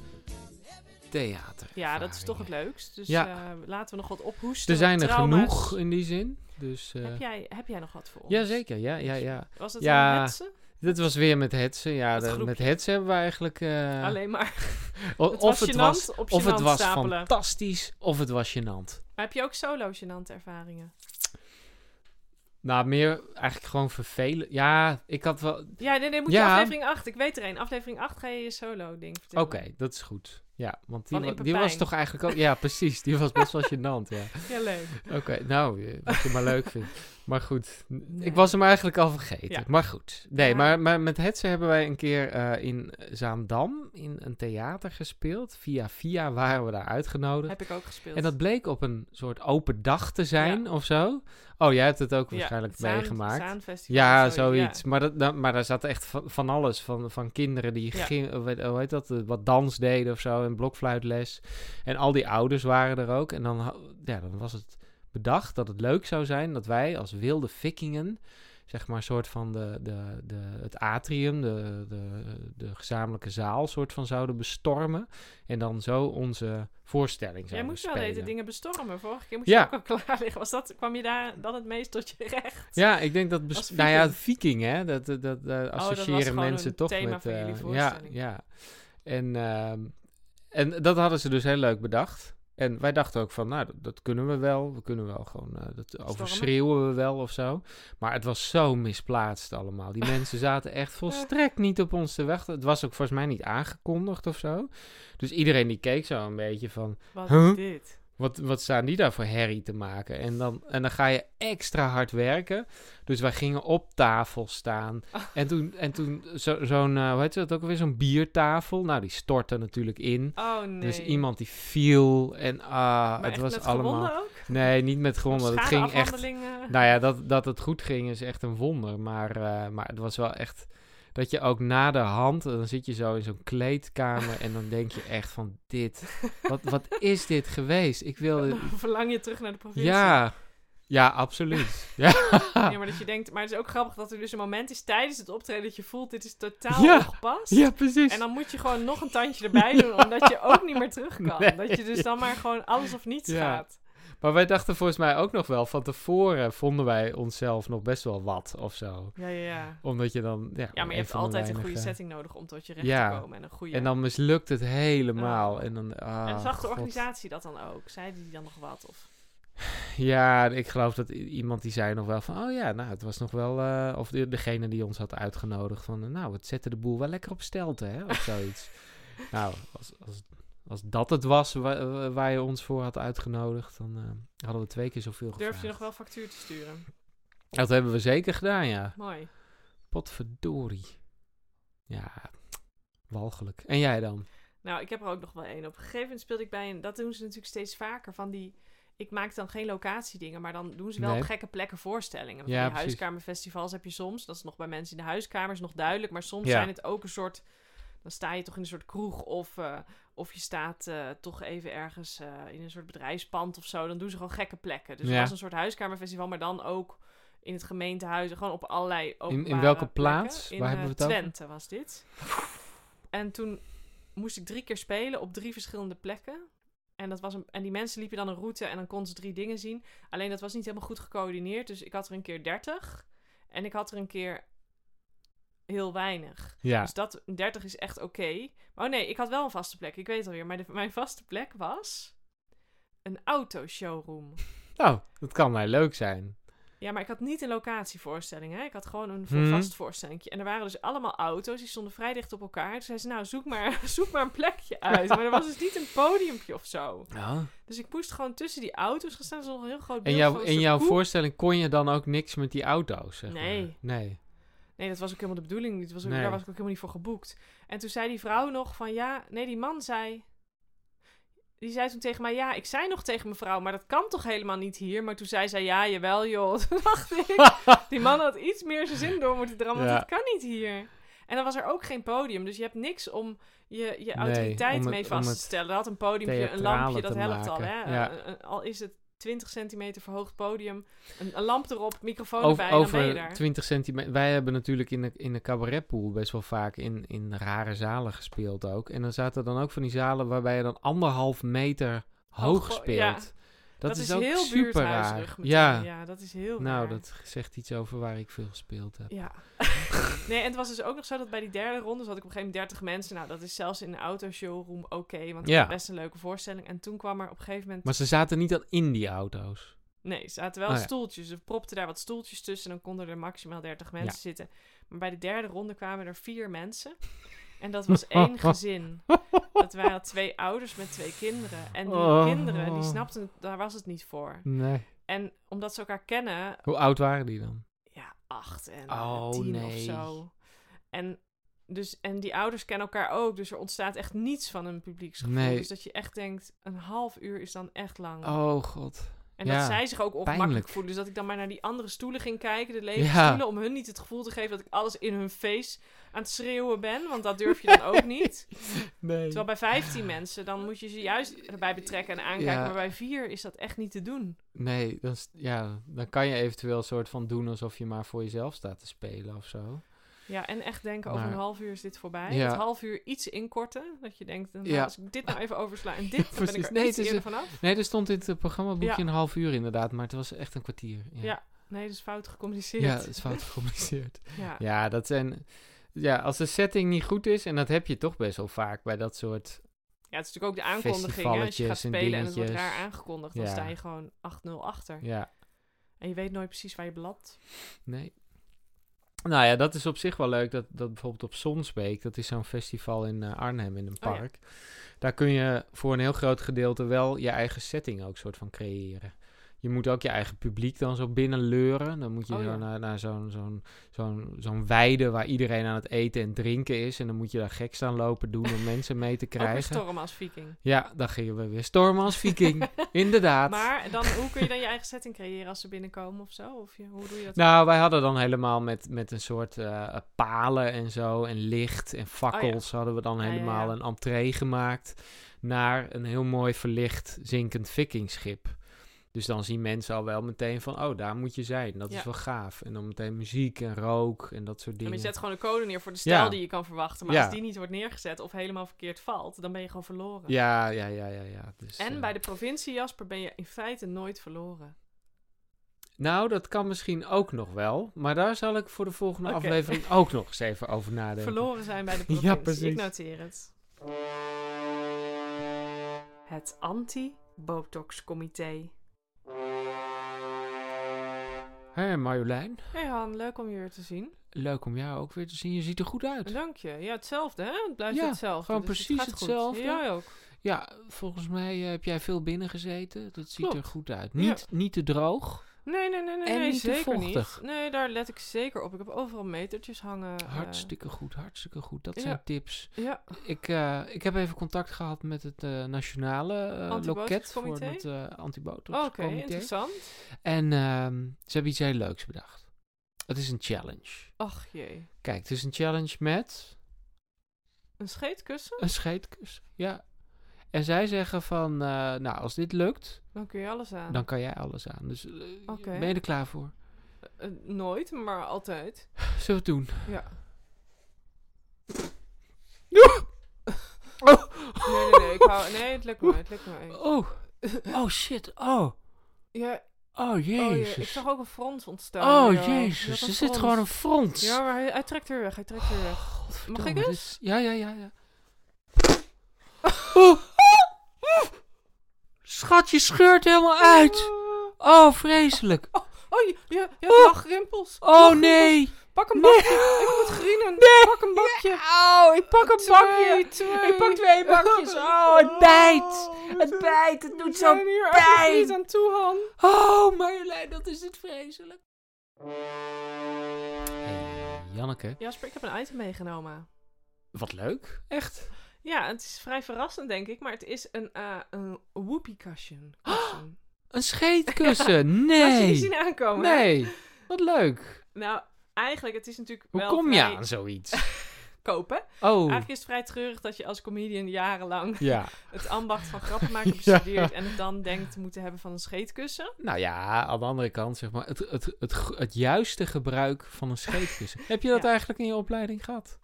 S2: theater.
S1: Ja, dat is toch het leukst. Dus
S2: Ja.
S1: eh, laten we nog wat ophoesten.
S2: Er zijn er
S1: trauma's.
S2: genoeg in die zin. Dus, eh
S1: Heb jij, heb jij nog wat voor ons?
S2: Jazeker, ja, ja, ja.
S1: Was het
S2: Ja.
S1: een hetsen?
S2: Dit was weer met hetsen. Ja,
S1: Dat
S2: de-
S1: groepje.
S2: met hetsen hebben we eigenlijk... eh,
S1: Alleen maar.
S2: o-
S1: Het
S2: of
S1: was
S2: het
S1: gênant,
S2: was,
S1: op
S2: of het
S1: gênant
S2: was
S1: stapelen.
S2: fantastisch, of het was gênant.
S1: Maar heb je ook solo gênante ervaringen?
S2: Nou, meer eigenlijk gewoon vervelen. Ja, ik had wel... Oké,
S1: Ja, nee, nee, moet je
S2: Ja.
S1: aflevering 8. Ik weet er een. Aflevering 8 ga je je solo ding vertellen.
S2: dat is goed. Ja, want die,
S1: Van
S2: wa-
S1: Impe
S2: die was
S1: Pijn.
S2: toch eigenlijk ook... Ja, precies. Die was best wel gênant, ja.
S1: Ja, leuk.
S2: Oké, nou, eh, wat je maar leuk vindt. Maar goed, n-
S1: Nee.
S2: ik was hem eigenlijk al vergeten.
S1: Ja.
S2: Maar goed. Nee,
S1: Ja.
S2: maar, maar met Hetze hebben wij een keer eh, in Zaandam in een theater gespeeld. Via Via waren we daar uitgenodigd.
S1: Heb ik ook gespeeld.
S2: En dat bleek op een soort open dag te zijn of zo. Oh, jij hebt het ook
S1: Ja,
S2: waarschijnlijk
S1: het Zaan-
S2: meegemaakt.
S1: Zaanfestival
S2: Ja,
S1: of
S2: zoiets. Maar, dat, da- maar daar zat echt van, van alles. Van, van kinderen die
S1: Ja.
S2: gingen, hoe heet- hoe heet dat, eh, wat dans deden of zo, en blokfluitles. En al die ouders waren er ook. En dan, ha- ja, dan was het bedacht dat het leuk zou zijn dat wij als wilde vikingen, zeg maar, soort van de, de, de, het atrium, de, de, de gezamenlijke zaal, soort van zouden bestormen. En dan zo onze voorstelling
S1: Jij
S2: zouden
S1: moest wel
S2: spelen.
S1: eten dingen bestormen. Vorige keer moest
S2: Ja.
S1: je ook al klaar liggen. Was dat, kwam je daar dan het meest tot je recht?
S2: Ja, ik denk dat... bes-
S1: Als
S2: nou ja,
S1: viking. Oh,
S2: viking, hè? Dat, dat, dat, eh,
S1: was
S2: associëren
S1: gewoon
S2: mensen
S1: een
S2: toch
S1: thema
S2: met...
S1: van
S2: eh,
S1: jullie
S2: ja,
S1: voorstelling.
S2: ja. En, ehm, en dat hadden ze dus heel leuk bedacht. En wij dachten ook van, nou, dat, dat kunnen we wel. We kunnen wel gewoon... eh, dat overschreeuwen we wel of zo. Maar het was zo misplaatst allemaal. Die mensen zaten echt volstrekt niet op ons te wachten. Het was ook volgens mij niet aangekondigd of zo. Dus iedereen die keek zo een beetje van...
S1: Wat
S2: Huh?
S1: is dit?
S2: Wat, wat staan die daar voor herrie te maken? En dan, en dan ga je extra hard werken. Dus wij gingen op tafel staan.
S1: Oh.
S2: En toen, en toen zo- zo'n, eh, hoe heet ze dat ook alweer? Zo'n biertafel. Nou, die stortte natuurlijk in.
S1: Oh nee.
S2: Dus iemand die viel. En ah,
S1: Maar
S2: het
S1: echt
S2: was
S1: met
S2: allemaal.
S1: gewonden ook?
S2: Nee, niet met gewonden. Het ging echt.
S1: Schadeafhandelingen?
S2: Nou ja, dat, dat het goed ging is echt een wonder. Maar, eh, maar het was wel echt. Dat je ook na de hand, dan zit je zo in zo'n kleedkamer en dan denk je echt van dit, wat, wat is dit geweest? Ik wilde,
S1: Dan verlang je terug naar de provincie.
S2: ja, ja, absoluut. ja.
S1: Ja, maar dat je denkt, maar het is ook grappig dat er dus een moment is tijdens het optreden dat je voelt, dit is totaal
S2: Ja.
S1: ongepast.
S2: ja, precies.
S1: En dan moet je gewoon nog een tandje erbij doen, omdat je ook niet meer terug kan.
S2: Nee.
S1: Dat je dus dan maar gewoon alles of niets
S2: Ja.
S1: gaat.
S2: Maar wij dachten volgens mij ook nog wel, van tevoren vonden wij onszelf nog best wel wat of zo.
S1: Ja, ja, ja.
S2: Omdat je dan... Ja,
S1: Ja, maar je hebt
S2: van de
S1: altijd een
S2: weinige-
S1: goede setting nodig om tot je recht
S2: Ja.
S1: te komen. En een goede...
S2: En dan mislukt het helemaal. En, dan, ah,
S1: en zag de
S2: God.
S1: organisatie dat dan ook? Zeiden die dan nog wat? Of...
S2: Ja, ik geloof dat i- iemand die zei nog wel van... Oh ja, nou, het was nog wel... eh, of de- degene die ons had uitgenodigd van... eh, Nou, het zette de boel wel lekker op stelte, hè? Of zoiets. nou, als, als, als dat het was wa- wa- waar je ons voor had uitgenodigd... dan eh, hadden we twee keer zoveel gevraagd.
S1: Durf je nog wel factuur te sturen?
S2: Dat hebben we zeker gedaan, ja.
S1: Mooi.
S2: Potverdorie. Ja, walgelijk. En jij dan?
S1: Nou, ik heb er ook nog wel één. Op een gegeven moment speelde ik bij een... Dat doen ze natuurlijk steeds vaker, van die... Ik maak dan geen locatiedingen, maar dan doen ze wel
S2: Nee.
S1: op gekke plekken voorstellingen. Want
S2: Ja,
S1: van die
S2: precies.
S1: huiskamerfestivals heb je soms. Dat is nog bij mensen in de huiskamers nog duidelijk. Maar soms
S2: Ja.
S1: zijn het ook een soort... Dan sta je toch in een soort kroeg of, eh, of je staat eh, toch even ergens eh, in een soort bedrijfspand of zo. Dan doen ze gewoon gekke plekken. Dus het
S2: Ja.
S1: was een soort huiskamerfestival, maar dan ook in het gemeentehuis, gewoon op allerlei openbare
S2: welke
S1: plekken.
S2: plaats?
S1: In,
S2: Waar hebben
S1: eh,
S2: we het over?
S1: Twente was dit. En toen moest ik drie keer spelen op drie verschillende plekken. En, dat was een, en die mensen liepen dan een route en dan konden ze drie dingen zien. Alleen dat was niet helemaal goed gecoördineerd. Dus ik had er een keer 30 en ik had er een keer heel weinig.
S2: Ja.
S1: Dus dat 30 is echt oké. Maar oh nee, ik had wel een vaste plek. Ik weet het alweer. Maar de- mijn vaste plek was een autoshowroom.
S2: Nou, dat kan mij leuk zijn.
S1: Ja, maar ik had niet een locatievoorstelling. Hè? Ik had gewoon een
S2: Mhm.
S1: vast voorstelling. En er waren dus allemaal auto's. Die stonden vrij dicht op elkaar. Toen zei ze, nou, zoek maar, zoek maar een plekje uit. Maar er was dus niet een podiumpje of zo.
S4: Ja.
S1: Dus ik moest gewoon tussen die auto's gaan staan. Er stond nog een heel groot
S2: En
S1: beeld
S2: jouw,
S1: van een
S2: in
S1: soort
S2: jouw
S1: koe.
S2: voorstelling kon je dan ook niks met die auto's, zeg maar.
S1: Nee.
S2: Nee.
S1: Nee, dat was ook helemaal de bedoeling niet. Dat Was ook,
S2: Nee.
S1: Daar was ik ook helemaal niet voor geboekt. En toen zei die vrouw nog van ja, nee, die man zei. Die zei toen tegen mij, ja, ik zei nog tegen mevrouw, maar dat kan toch helemaal niet hier? Maar toen zei zij, ja, jawel joh. Toen dacht ik, die man had iets meer zijn zin door moeten drammen, want
S2: Ja.
S1: dat kan niet hier. En dan was er ook geen podium, dus je hebt niks om je, je autoriteit
S2: om het-
S1: mee
S2: om
S1: vast te
S2: het
S1: stellen. Er had een podiumpje, een
S2: theatrale
S1: lampje,
S2: te
S1: dat helpt al.
S2: maken.
S1: Hè?
S2: Ja.
S1: Een- een- al is het 20 centimeter verhoogd podium, een, een lamp erop, microfoon
S2: Over,
S1: erbij, en dan ben je
S2: over
S1: daar.
S2: 20 centimeter. Wij hebben natuurlijk in de, in de cabaretpool best wel vaak in, in rare zalen gespeeld ook. En dan zaten dan ook van die zalen waarbij je dan anderhalf meter hoog
S1: Hoog bo-
S2: speelt.
S1: Oh, ja.
S2: Dat,
S1: Dat,
S2: is,
S1: is,
S2: ook
S1: heel
S2: super raar.
S1: buurthuiserig meteen.
S2: Ja.
S1: dat is heel
S2: nou,
S1: raar.
S2: dat zegt iets over waar ik veel gespeeld heb.
S1: Ja. nee, en het was dus ook nog zo dat bij die derde ronde zat ik op een gegeven moment 30 mensen. Nou, dat is zelfs in een autoshowroom oké, want het
S2: Ja.
S1: was best een leuke voorstelling. En toen kwam er op een gegeven moment...
S2: Maar ze zaten niet al in die auto's.
S1: Nee, er zaten wel
S2: Oh ja.
S1: stoeltjes. Ze propten daar wat stoeltjes tussen en dan konden er maximaal 30 mensen
S2: Ja.
S1: zitten. Maar bij de derde ronde kwamen er vier mensen. En dat was één gezin. Dat waren twee ouders met twee kinderen. En die
S2: Oh.
S1: kinderen, die snapten, het- daar was het niet voor.
S2: Nee.
S1: En omdat ze elkaar kennen,
S2: Hoe oud waren die dan?
S1: ja, acht en eh,
S2: Oh,
S1: tien of
S2: nee.
S1: zo. En, dus, en die ouders kennen elkaar ook, dus er ontstaat echt niets van een publieksgevoel.
S2: Nee.
S1: Dus dat je echt denkt, een half uur is dan echt lang.
S2: Oh god.
S1: en dat
S2: ja.
S1: zij zich ook ongemakkelijk
S2: Pijnlijk.
S1: voelen. Dus dat ik dan maar naar die andere stoelen ging kijken, de lege
S2: Ja.
S1: stoelen, om hun niet het gevoel te geven dat ik alles in hun face aan het schreeuwen ben. Want dat durf je dan ook niet.
S2: Nee.
S1: Terwijl bij 15 mensen, dan moet je ze juist erbij betrekken en aankijken.
S2: Ja.
S1: Maar bij vier is dat echt niet te doen.
S2: Nee, dan, is- ja, dan kan je eventueel een soort van doen alsof je maar voor jezelf staat te spelen of zo.
S1: Ja, en echt denken, over
S2: Maar-
S1: een half uur is dit voorbij.
S2: Ja.
S1: Het half uur iets inkorten. Dat je denkt, nou,
S2: Ja.
S1: als ik dit nou even oversla en dit, dan ben ik
S2: Precies.
S1: er
S2: Nee,
S1: iets
S2: het is
S1: eerder vanaf.
S2: Nee, er stond in het programmaboekje
S1: Ja.
S2: een half uur inderdaad, maar het was echt een kwartier. Ja,
S1: Ja, Nee, dat is fout gecommuniceerd.
S2: ja het is fout gecommuniceerd.
S1: Ja.
S2: Ja, dat zijn... Ja, als de setting niet goed is, en dat heb je toch best wel vaak bij dat soort...
S1: Ja, het is natuurlijk ook de aankondiging. hè. Als je gaat
S2: Festivalletjes en
S1: spelen en het wordt
S2: dingetjes.
S1: raar aangekondigd, dan
S2: Ja.
S1: sta je gewoon 8-0 achter.
S2: Ja,
S1: En je weet nooit precies waar je bladt.
S2: nee. Nou ja, dat is op zich wel leuk, dat, dat bijvoorbeeld op Sonsbeek, dat is zo'n festival in eh, Arnhem in een
S1: Oh ja.
S2: park. Daar kun je voor een heel groot gedeelte wel je eigen setting ook soort van creëren. Je moet ook je eigen publiek dan zo binnenleuren. Dan moet je
S1: Oh,
S2: zo
S1: ja.
S2: naar, naar zo'n zo'n zo'n zo'n weide waar iedereen aan het eten en drinken is. En dan moet je daar gek staan lopen doen om mensen mee te
S1: Ook weer
S2: krijgen.
S1: storm als viking.
S2: Ja, dan gingen we weer stormen als viking. Inderdaad.
S1: Maar dan, hoe kun je dan je eigen setting creëren als ze binnenkomen of zo? Of je, hoe doe je dat?
S2: Nou, wij hadden dan helemaal met, met een soort eh, palen en zo en licht en fakkels hadden we dan
S1: Oh Ja, ja,
S2: helemaal
S1: ja.
S2: een entree gemaakt naar een heel mooi verlicht zinkend vikingschip. Dus dan zien mensen al wel meteen van, oh, daar moet je zijn. Dat
S1: Ja.
S2: is wel gaaf. En dan meteen muziek en rook en dat soort
S1: Ja, maar
S2: dingen.
S1: je zet gewoon de code neer voor de stijl
S2: Ja.
S1: die je kan verwachten. Maar
S2: Ja.
S1: als die niet wordt neergezet of helemaal verkeerd valt, dan ben je gewoon verloren.
S2: Ja, ja, ja, ja, ja. Dus,
S1: En
S2: eh,
S1: bij de provincie Jasper ben je in feite nooit verloren.
S2: Nou, dat kan misschien ook nog wel. Maar daar zal ik voor de volgende
S1: Oké.
S2: aflevering ook nog eens even over nadenken.
S1: Verloren zijn bij de
S2: Ja,
S1: provincie. Ik
S2: precies.
S1: noteer het. Het anti-botox-comité.
S2: Hé Marjolein,
S1: Hey Han, leuk om je weer te zien.
S2: leuk om jou ook weer te zien. Je ziet er goed uit.
S1: Dank je. Ja, hetzelfde hè? Het blijft
S2: Ja,
S1: hetzelfde.
S2: gewoon
S1: dus het
S2: precies
S1: gaat goed.
S2: hetzelfde.
S1: Ja, ook.
S2: Ja, volgens mij eh, heb jij veel binnen gezeten. Dat ziet er
S1: Klopt.
S2: goed uit.
S1: Ja.
S2: Niet, niet te droog.
S1: Nee, nee, nee, nee,
S2: En
S1: nee
S2: niet te
S1: zeker
S2: vochtig.
S1: niet. Nee, daar let ik zeker op. Ik heb overal metertjes hangen. eh.
S2: Hartstikke goed, hartstikke goed. Dat
S1: ja.
S2: zijn tips.
S1: ja,
S2: Ik, eh, ik heb even contact gehad met het eh, nationale eh loket voor
S1: Antibotoxcomité?
S2: het eh
S1: oké,
S2: antibotoxcomité.
S1: interessant.
S2: en ehm, ze hebben iets heel leuks bedacht. Het is een challenge.
S1: Ach jee.
S2: Kijk, het is een challenge met
S1: Een scheetkussen?
S2: een scheetkus. Ja. En zij zeggen van, eh, nou, als dit lukt,
S1: Dan kun je alles aan.
S2: dan kan jij alles aan. Dus eh,
S1: Ah. Oké.
S2: ben je er klaar voor?
S1: Eh, nooit, maar altijd.
S2: Zullen we het doen?
S1: Ja.
S2: Oh.
S1: Nee, nee, nee. Ik hou, nee, het lukt me. Het lukt me.
S2: Oh. Oh shit. Oh.
S1: Ja,
S2: Oh
S1: oh,
S2: jezus.
S1: ja,
S2: Oh,
S1: ik zag ook een frons ontstaan. joh.
S2: jezus.
S1: Ja,
S2: Er
S1: dat
S2: zit
S1: frons.
S2: gewoon een frons.
S1: Ja, maar hij, hij trekt weer weg. Hij trekt weer weg. Mag ik
S2: Godverdomme,
S1: eens?
S2: dit- Ja, ja, ja, ja. Oh. Schat, je scheurt helemaal uit. Oh, vreselijk.
S1: Oh, je, je, je hebt
S2: Oh.
S1: lachrimpels.
S2: Oh nee.
S1: Pak een
S2: Nee.
S1: bakje. Ik moet grienen.
S2: Nee.
S1: Pak een bakje.
S2: Oh, ik pak een bakje.
S1: Twee, twee.
S2: Ik pak twee bakjes. Oh, het bijt. Het bijt. Het
S1: We
S2: doet
S1: zijn
S2: zo
S1: hier echt
S2: pijn.
S1: niet aan toe, Han.
S2: Oh, Marjolein, dat is het vreselijk. Janneke.
S1: Jasper, ik heb een item meegenomen.
S2: Wat leuk. Echt?
S1: Ja, het is vrij verrassend, denk ik. Maar het is een, eh, een whoopie cushion. Cushion.
S2: Een scheetkussen.
S1: Had je die
S2: Nee.
S1: zien aankomen? hè?
S2: Nee. Wat leuk.
S1: Nou, eigenlijk, het is natuurlijk
S2: Hoe
S1: wel
S2: kom je
S1: vrij
S2: aan zoiets?
S1: kopen.
S2: Oh.
S1: Eigenlijk is het vrij treurig dat je als comedian jarenlang
S2: Ja.
S1: het ambacht van grappen maken
S2: Ja.
S1: bestudeert en het dan denkt te moeten hebben van een scheetkussen.
S2: Nou ja, aan de andere kant zeg maar. Het, het, het, g- het juiste gebruik van een scheetkussen. Heb je dat
S1: Ja.
S2: eigenlijk in je opleiding gehad?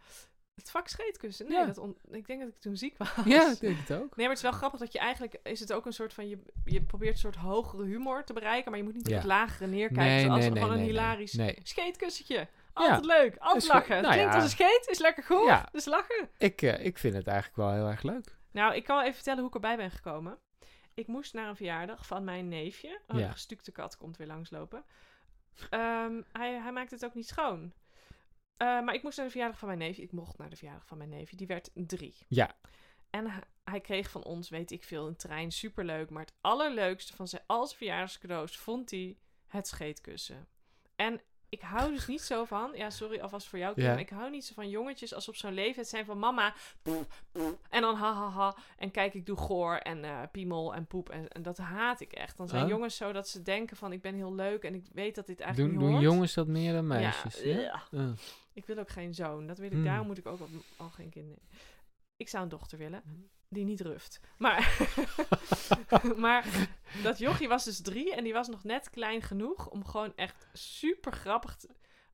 S1: Het vak scheetkussen? Nee,
S2: Ja.
S1: dat on- ik denk dat ik toen ziek was.
S2: Ja, ik denk het ook.
S1: Nee, maar het is wel grappig dat je eigenlijk... Is het ook een soort van... Je, je probeert een soort hogere humor te bereiken... maar je moet niet
S2: Ja.
S1: op het lagere neerkijken.
S2: Nee,
S1: zoals
S2: nee, nee,
S1: gewoon een
S2: nee, nee.
S1: hilarisch
S2: Nee.
S1: scheetkussentje. Altijd leuk, altijd
S2: Is goed.
S1: lachen.
S2: Nou
S1: Klinkt
S2: ja.
S1: als een scheet, is lekker goed,
S2: Ja.
S1: dus lachen.
S2: Ik, eh, ik vind het eigenlijk wel heel erg leuk.
S1: Nou, ik kan wel even vertellen hoe ik erbij ben gekomen. Ik moest naar een verjaardag van mijn neefje. Oh,
S2: Ja.
S1: de gestukte kat komt weer langslopen. Ehm, hij, hij maakt het ook niet schoon. Eh, maar ik moest naar de verjaardag van mijn neefje. Ik mocht naar de verjaardag van mijn neefje. Die werd drie.
S2: Ja.
S1: En hij, hij kreeg van ons, weet ik veel, een trein. Superleuk. Maar het allerleukste van zijn, al zijn verjaardagscadeaus vond hij het scheetkussen. En ik hou dus niet zo van... Ja, sorry alvast voor jou, Kim.
S2: Ja.
S1: maar Ik hou niet zo van jongetjes als op zo'n leeftijd zijn van... Mama, en dan ha ha ha. En kijk, ik doe goor en eh, piemel en poep. En, en dat haat ik echt. Dan zijn
S2: Oh.
S1: jongens zo dat ze denken van ik ben heel leuk en ik weet dat dit eigenlijk
S2: Doen,
S1: niet
S2: doen
S1: hoort.
S2: jongens dat meer dan meisjes?
S1: Ja,
S2: Ja.
S1: ugh.
S2: Eh.
S1: Ik wil ook geen zoon. Dat wil ik.
S2: Hmm.
S1: Daarom moet ik ook al, al geen kind nemen. Ik zou een dochter willen.
S2: Mhm.
S1: Die niet ruft. Maar, maar dat jochie was dus drie. En die was nog net klein genoeg om gewoon echt super grappig te-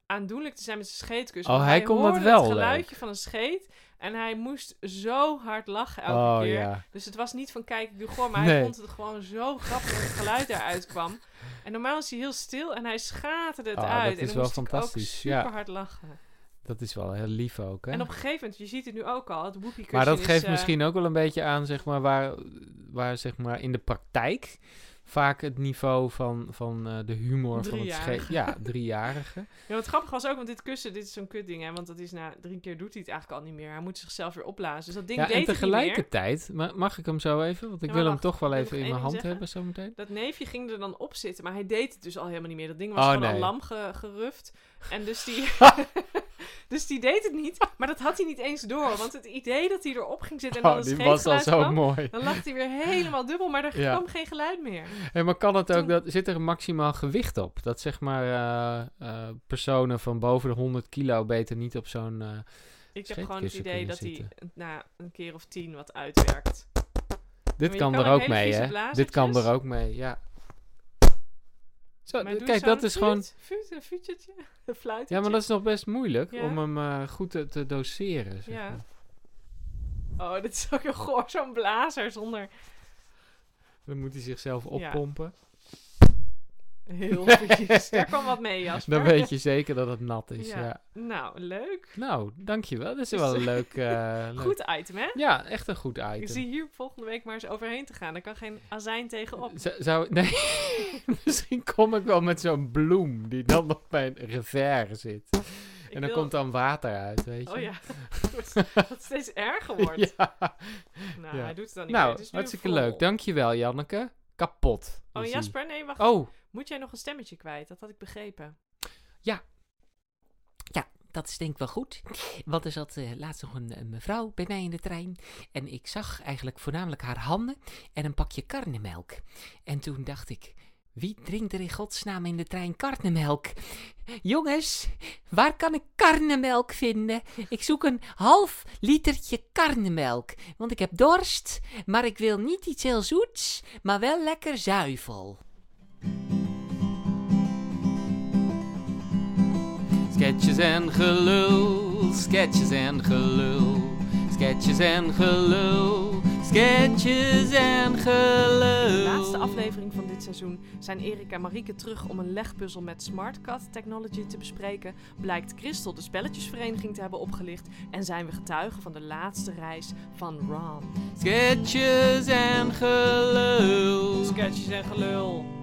S1: aandoenlijk te zijn met zijn scheetkus.
S2: Oh,
S1: Want
S2: hij kon dat
S1: hoorde
S2: wel
S1: het
S2: leuk.
S1: geluidje van een scheet. En hij moest zo hard lachen elke
S2: Oh
S1: keer.
S2: ja.
S1: Dus het was niet van kijk, ik doe gewoon, maar hij
S2: Nee.
S1: vond het gewoon zo grappig dat het geluid daaruit kwam. En normaal is hij heel stil en hij schaterde het
S2: Ah, dat
S1: uit. en
S2: is
S1: dan
S2: wel
S1: moest
S2: fantastisch,
S1: Ik ook
S2: ja.
S1: super hard lachen.
S2: Dat is wel heel lief ook, hè?
S1: En op een gegeven moment, je ziet het nu ook al, het whoopie
S2: Maar dat
S1: is,
S2: geeft
S1: eh,
S2: misschien ook wel een beetje aan, zeg maar, waar, waar zeg maar, in de praktijk vaak het niveau van, van eh, de humor van het scheet...
S1: Driejarige.
S2: Ja, driejarige.
S1: Ja, wat grappig was ook, want dit kussen, dit is zo'n kutding, hè. Want dat is na drie keer doet hij het eigenlijk al niet meer. Hij moet zichzelf weer opblazen. Dus dat ding
S2: Ja,
S1: deed
S2: en
S1: het niet meer.
S2: tegelijkertijd, ma- mag ik hem zo even? Want ik
S1: maar
S2: wil hem
S1: wacht,
S2: toch wel
S1: wil
S2: even
S1: nog
S2: in
S1: één
S2: mijn
S1: ding
S2: hand
S1: zeggen?
S2: hebben zometeen.
S1: Dat neefje ging er dan op zitten, maar hij deed het dus al helemaal niet meer. Dat ding was
S2: Oh,
S1: gewoon al
S2: nee.
S1: lam ge- geruft. En dus die, dus die deed het niet. Maar dat had hij niet eens door. Want het idee dat hij erop ging zitten en dan
S2: Oh,
S1: het
S2: die was al
S1: scheetgeluid
S2: zo
S1: kwam,
S2: mooi.
S1: dan lag hij weer helemaal dubbel, maar er
S2: Ja.
S1: kwam geen geluid meer.
S2: Hey, maar kan het
S1: Toen-
S2: ook, dat, zit er een maximaal gewicht op? Dat zeg maar eh, eh, personen van boven de 100 kilo beter niet op zo'n... eh,
S1: Ik heb gewoon het
S2: Scheetkussen
S1: idee dat
S2: kunnen
S1: hij na een keer of tien wat uitwerkt.
S2: dit
S1: je
S2: kan,
S1: kan
S2: er
S1: ook
S2: ook
S1: hele
S2: mee,
S1: vieze
S2: hè? Dit kan
S1: blazertjes.
S2: er ook mee, ja. Zo,
S1: Maar doe je
S2: kijk,
S1: zo'n
S2: dat is gewoon...
S1: fuut, fuut, een fuutjetje, een fluitje.
S2: Ja, maar dat is nog best moeilijk
S1: Ja.
S2: om hem eh, goed te, te doseren. Zeg
S1: Ja.
S2: maar.
S1: Oh, dit is ook heel goor, zo'n blazer zonder...
S2: Dan moet hij zichzelf oppompen.
S1: Heel vies. Daar kwam wat mee, Jasper.
S2: Dan weet je zeker dat het nat is.
S1: Ja.
S2: Ja.
S1: Nou, leuk.
S2: Nou, dankjewel. Dat is
S1: Dus,
S2: wel een leuk, eh, leuk-
S1: Goed item, hè?
S2: Ja, echt een goed item.
S1: Ik zie hier volgende week maar eens overheen te gaan. Daar kan geen azijn tegenop.
S2: Z- zou, nee, misschien kom ik wel met zo'n bloem die dan op mijn revers zit.
S1: Ik
S2: en dan
S1: wil-
S2: komt dan water uit, weet je.
S1: Oh ja, dat het steeds erger wordt.
S2: Ja.
S1: Nou,
S2: Ja.
S1: hij doet het dan niet meer. Het
S2: Nou,
S1: is nu
S2: hartstikke
S1: vol.
S2: leuk. Dankjewel, Janneke. Kapot.
S1: Oh,
S2: is hij.
S1: Jasper, nee, wacht.
S2: Oh,
S1: Moet jij nog een stemmetje kwijt? Dat had ik begrepen.
S4: Dat is denk ik wel goed. Want er zat eh, laatst nog een, een mevrouw bij mij in de trein. En ik zag eigenlijk voornamelijk haar handen en een pakje karnemelk. En toen dacht ik, wie drinkt er in godsnaam in de trein karnemelk? Jongens, waar kan ik karnemelk vinden? Ik zoek een half litertje karnemelk. Want ik heb dorst, maar ik wil niet iets heel zoets, maar wel lekker zuivel. Sketches en gelul, sketches en gelul, sketches en gelul, sketches en gelul.
S1: De laatste aflevering van dit seizoen zijn Erik en Marieke terug om een legpuzzel met SmartCat technology te bespreken. Blijkt Christel de spelletjesvereniging te hebben opgelicht en zijn we getuigen van de laatste reis van Ron.
S4: Sketches en gelul.
S1: Sketches en gelul.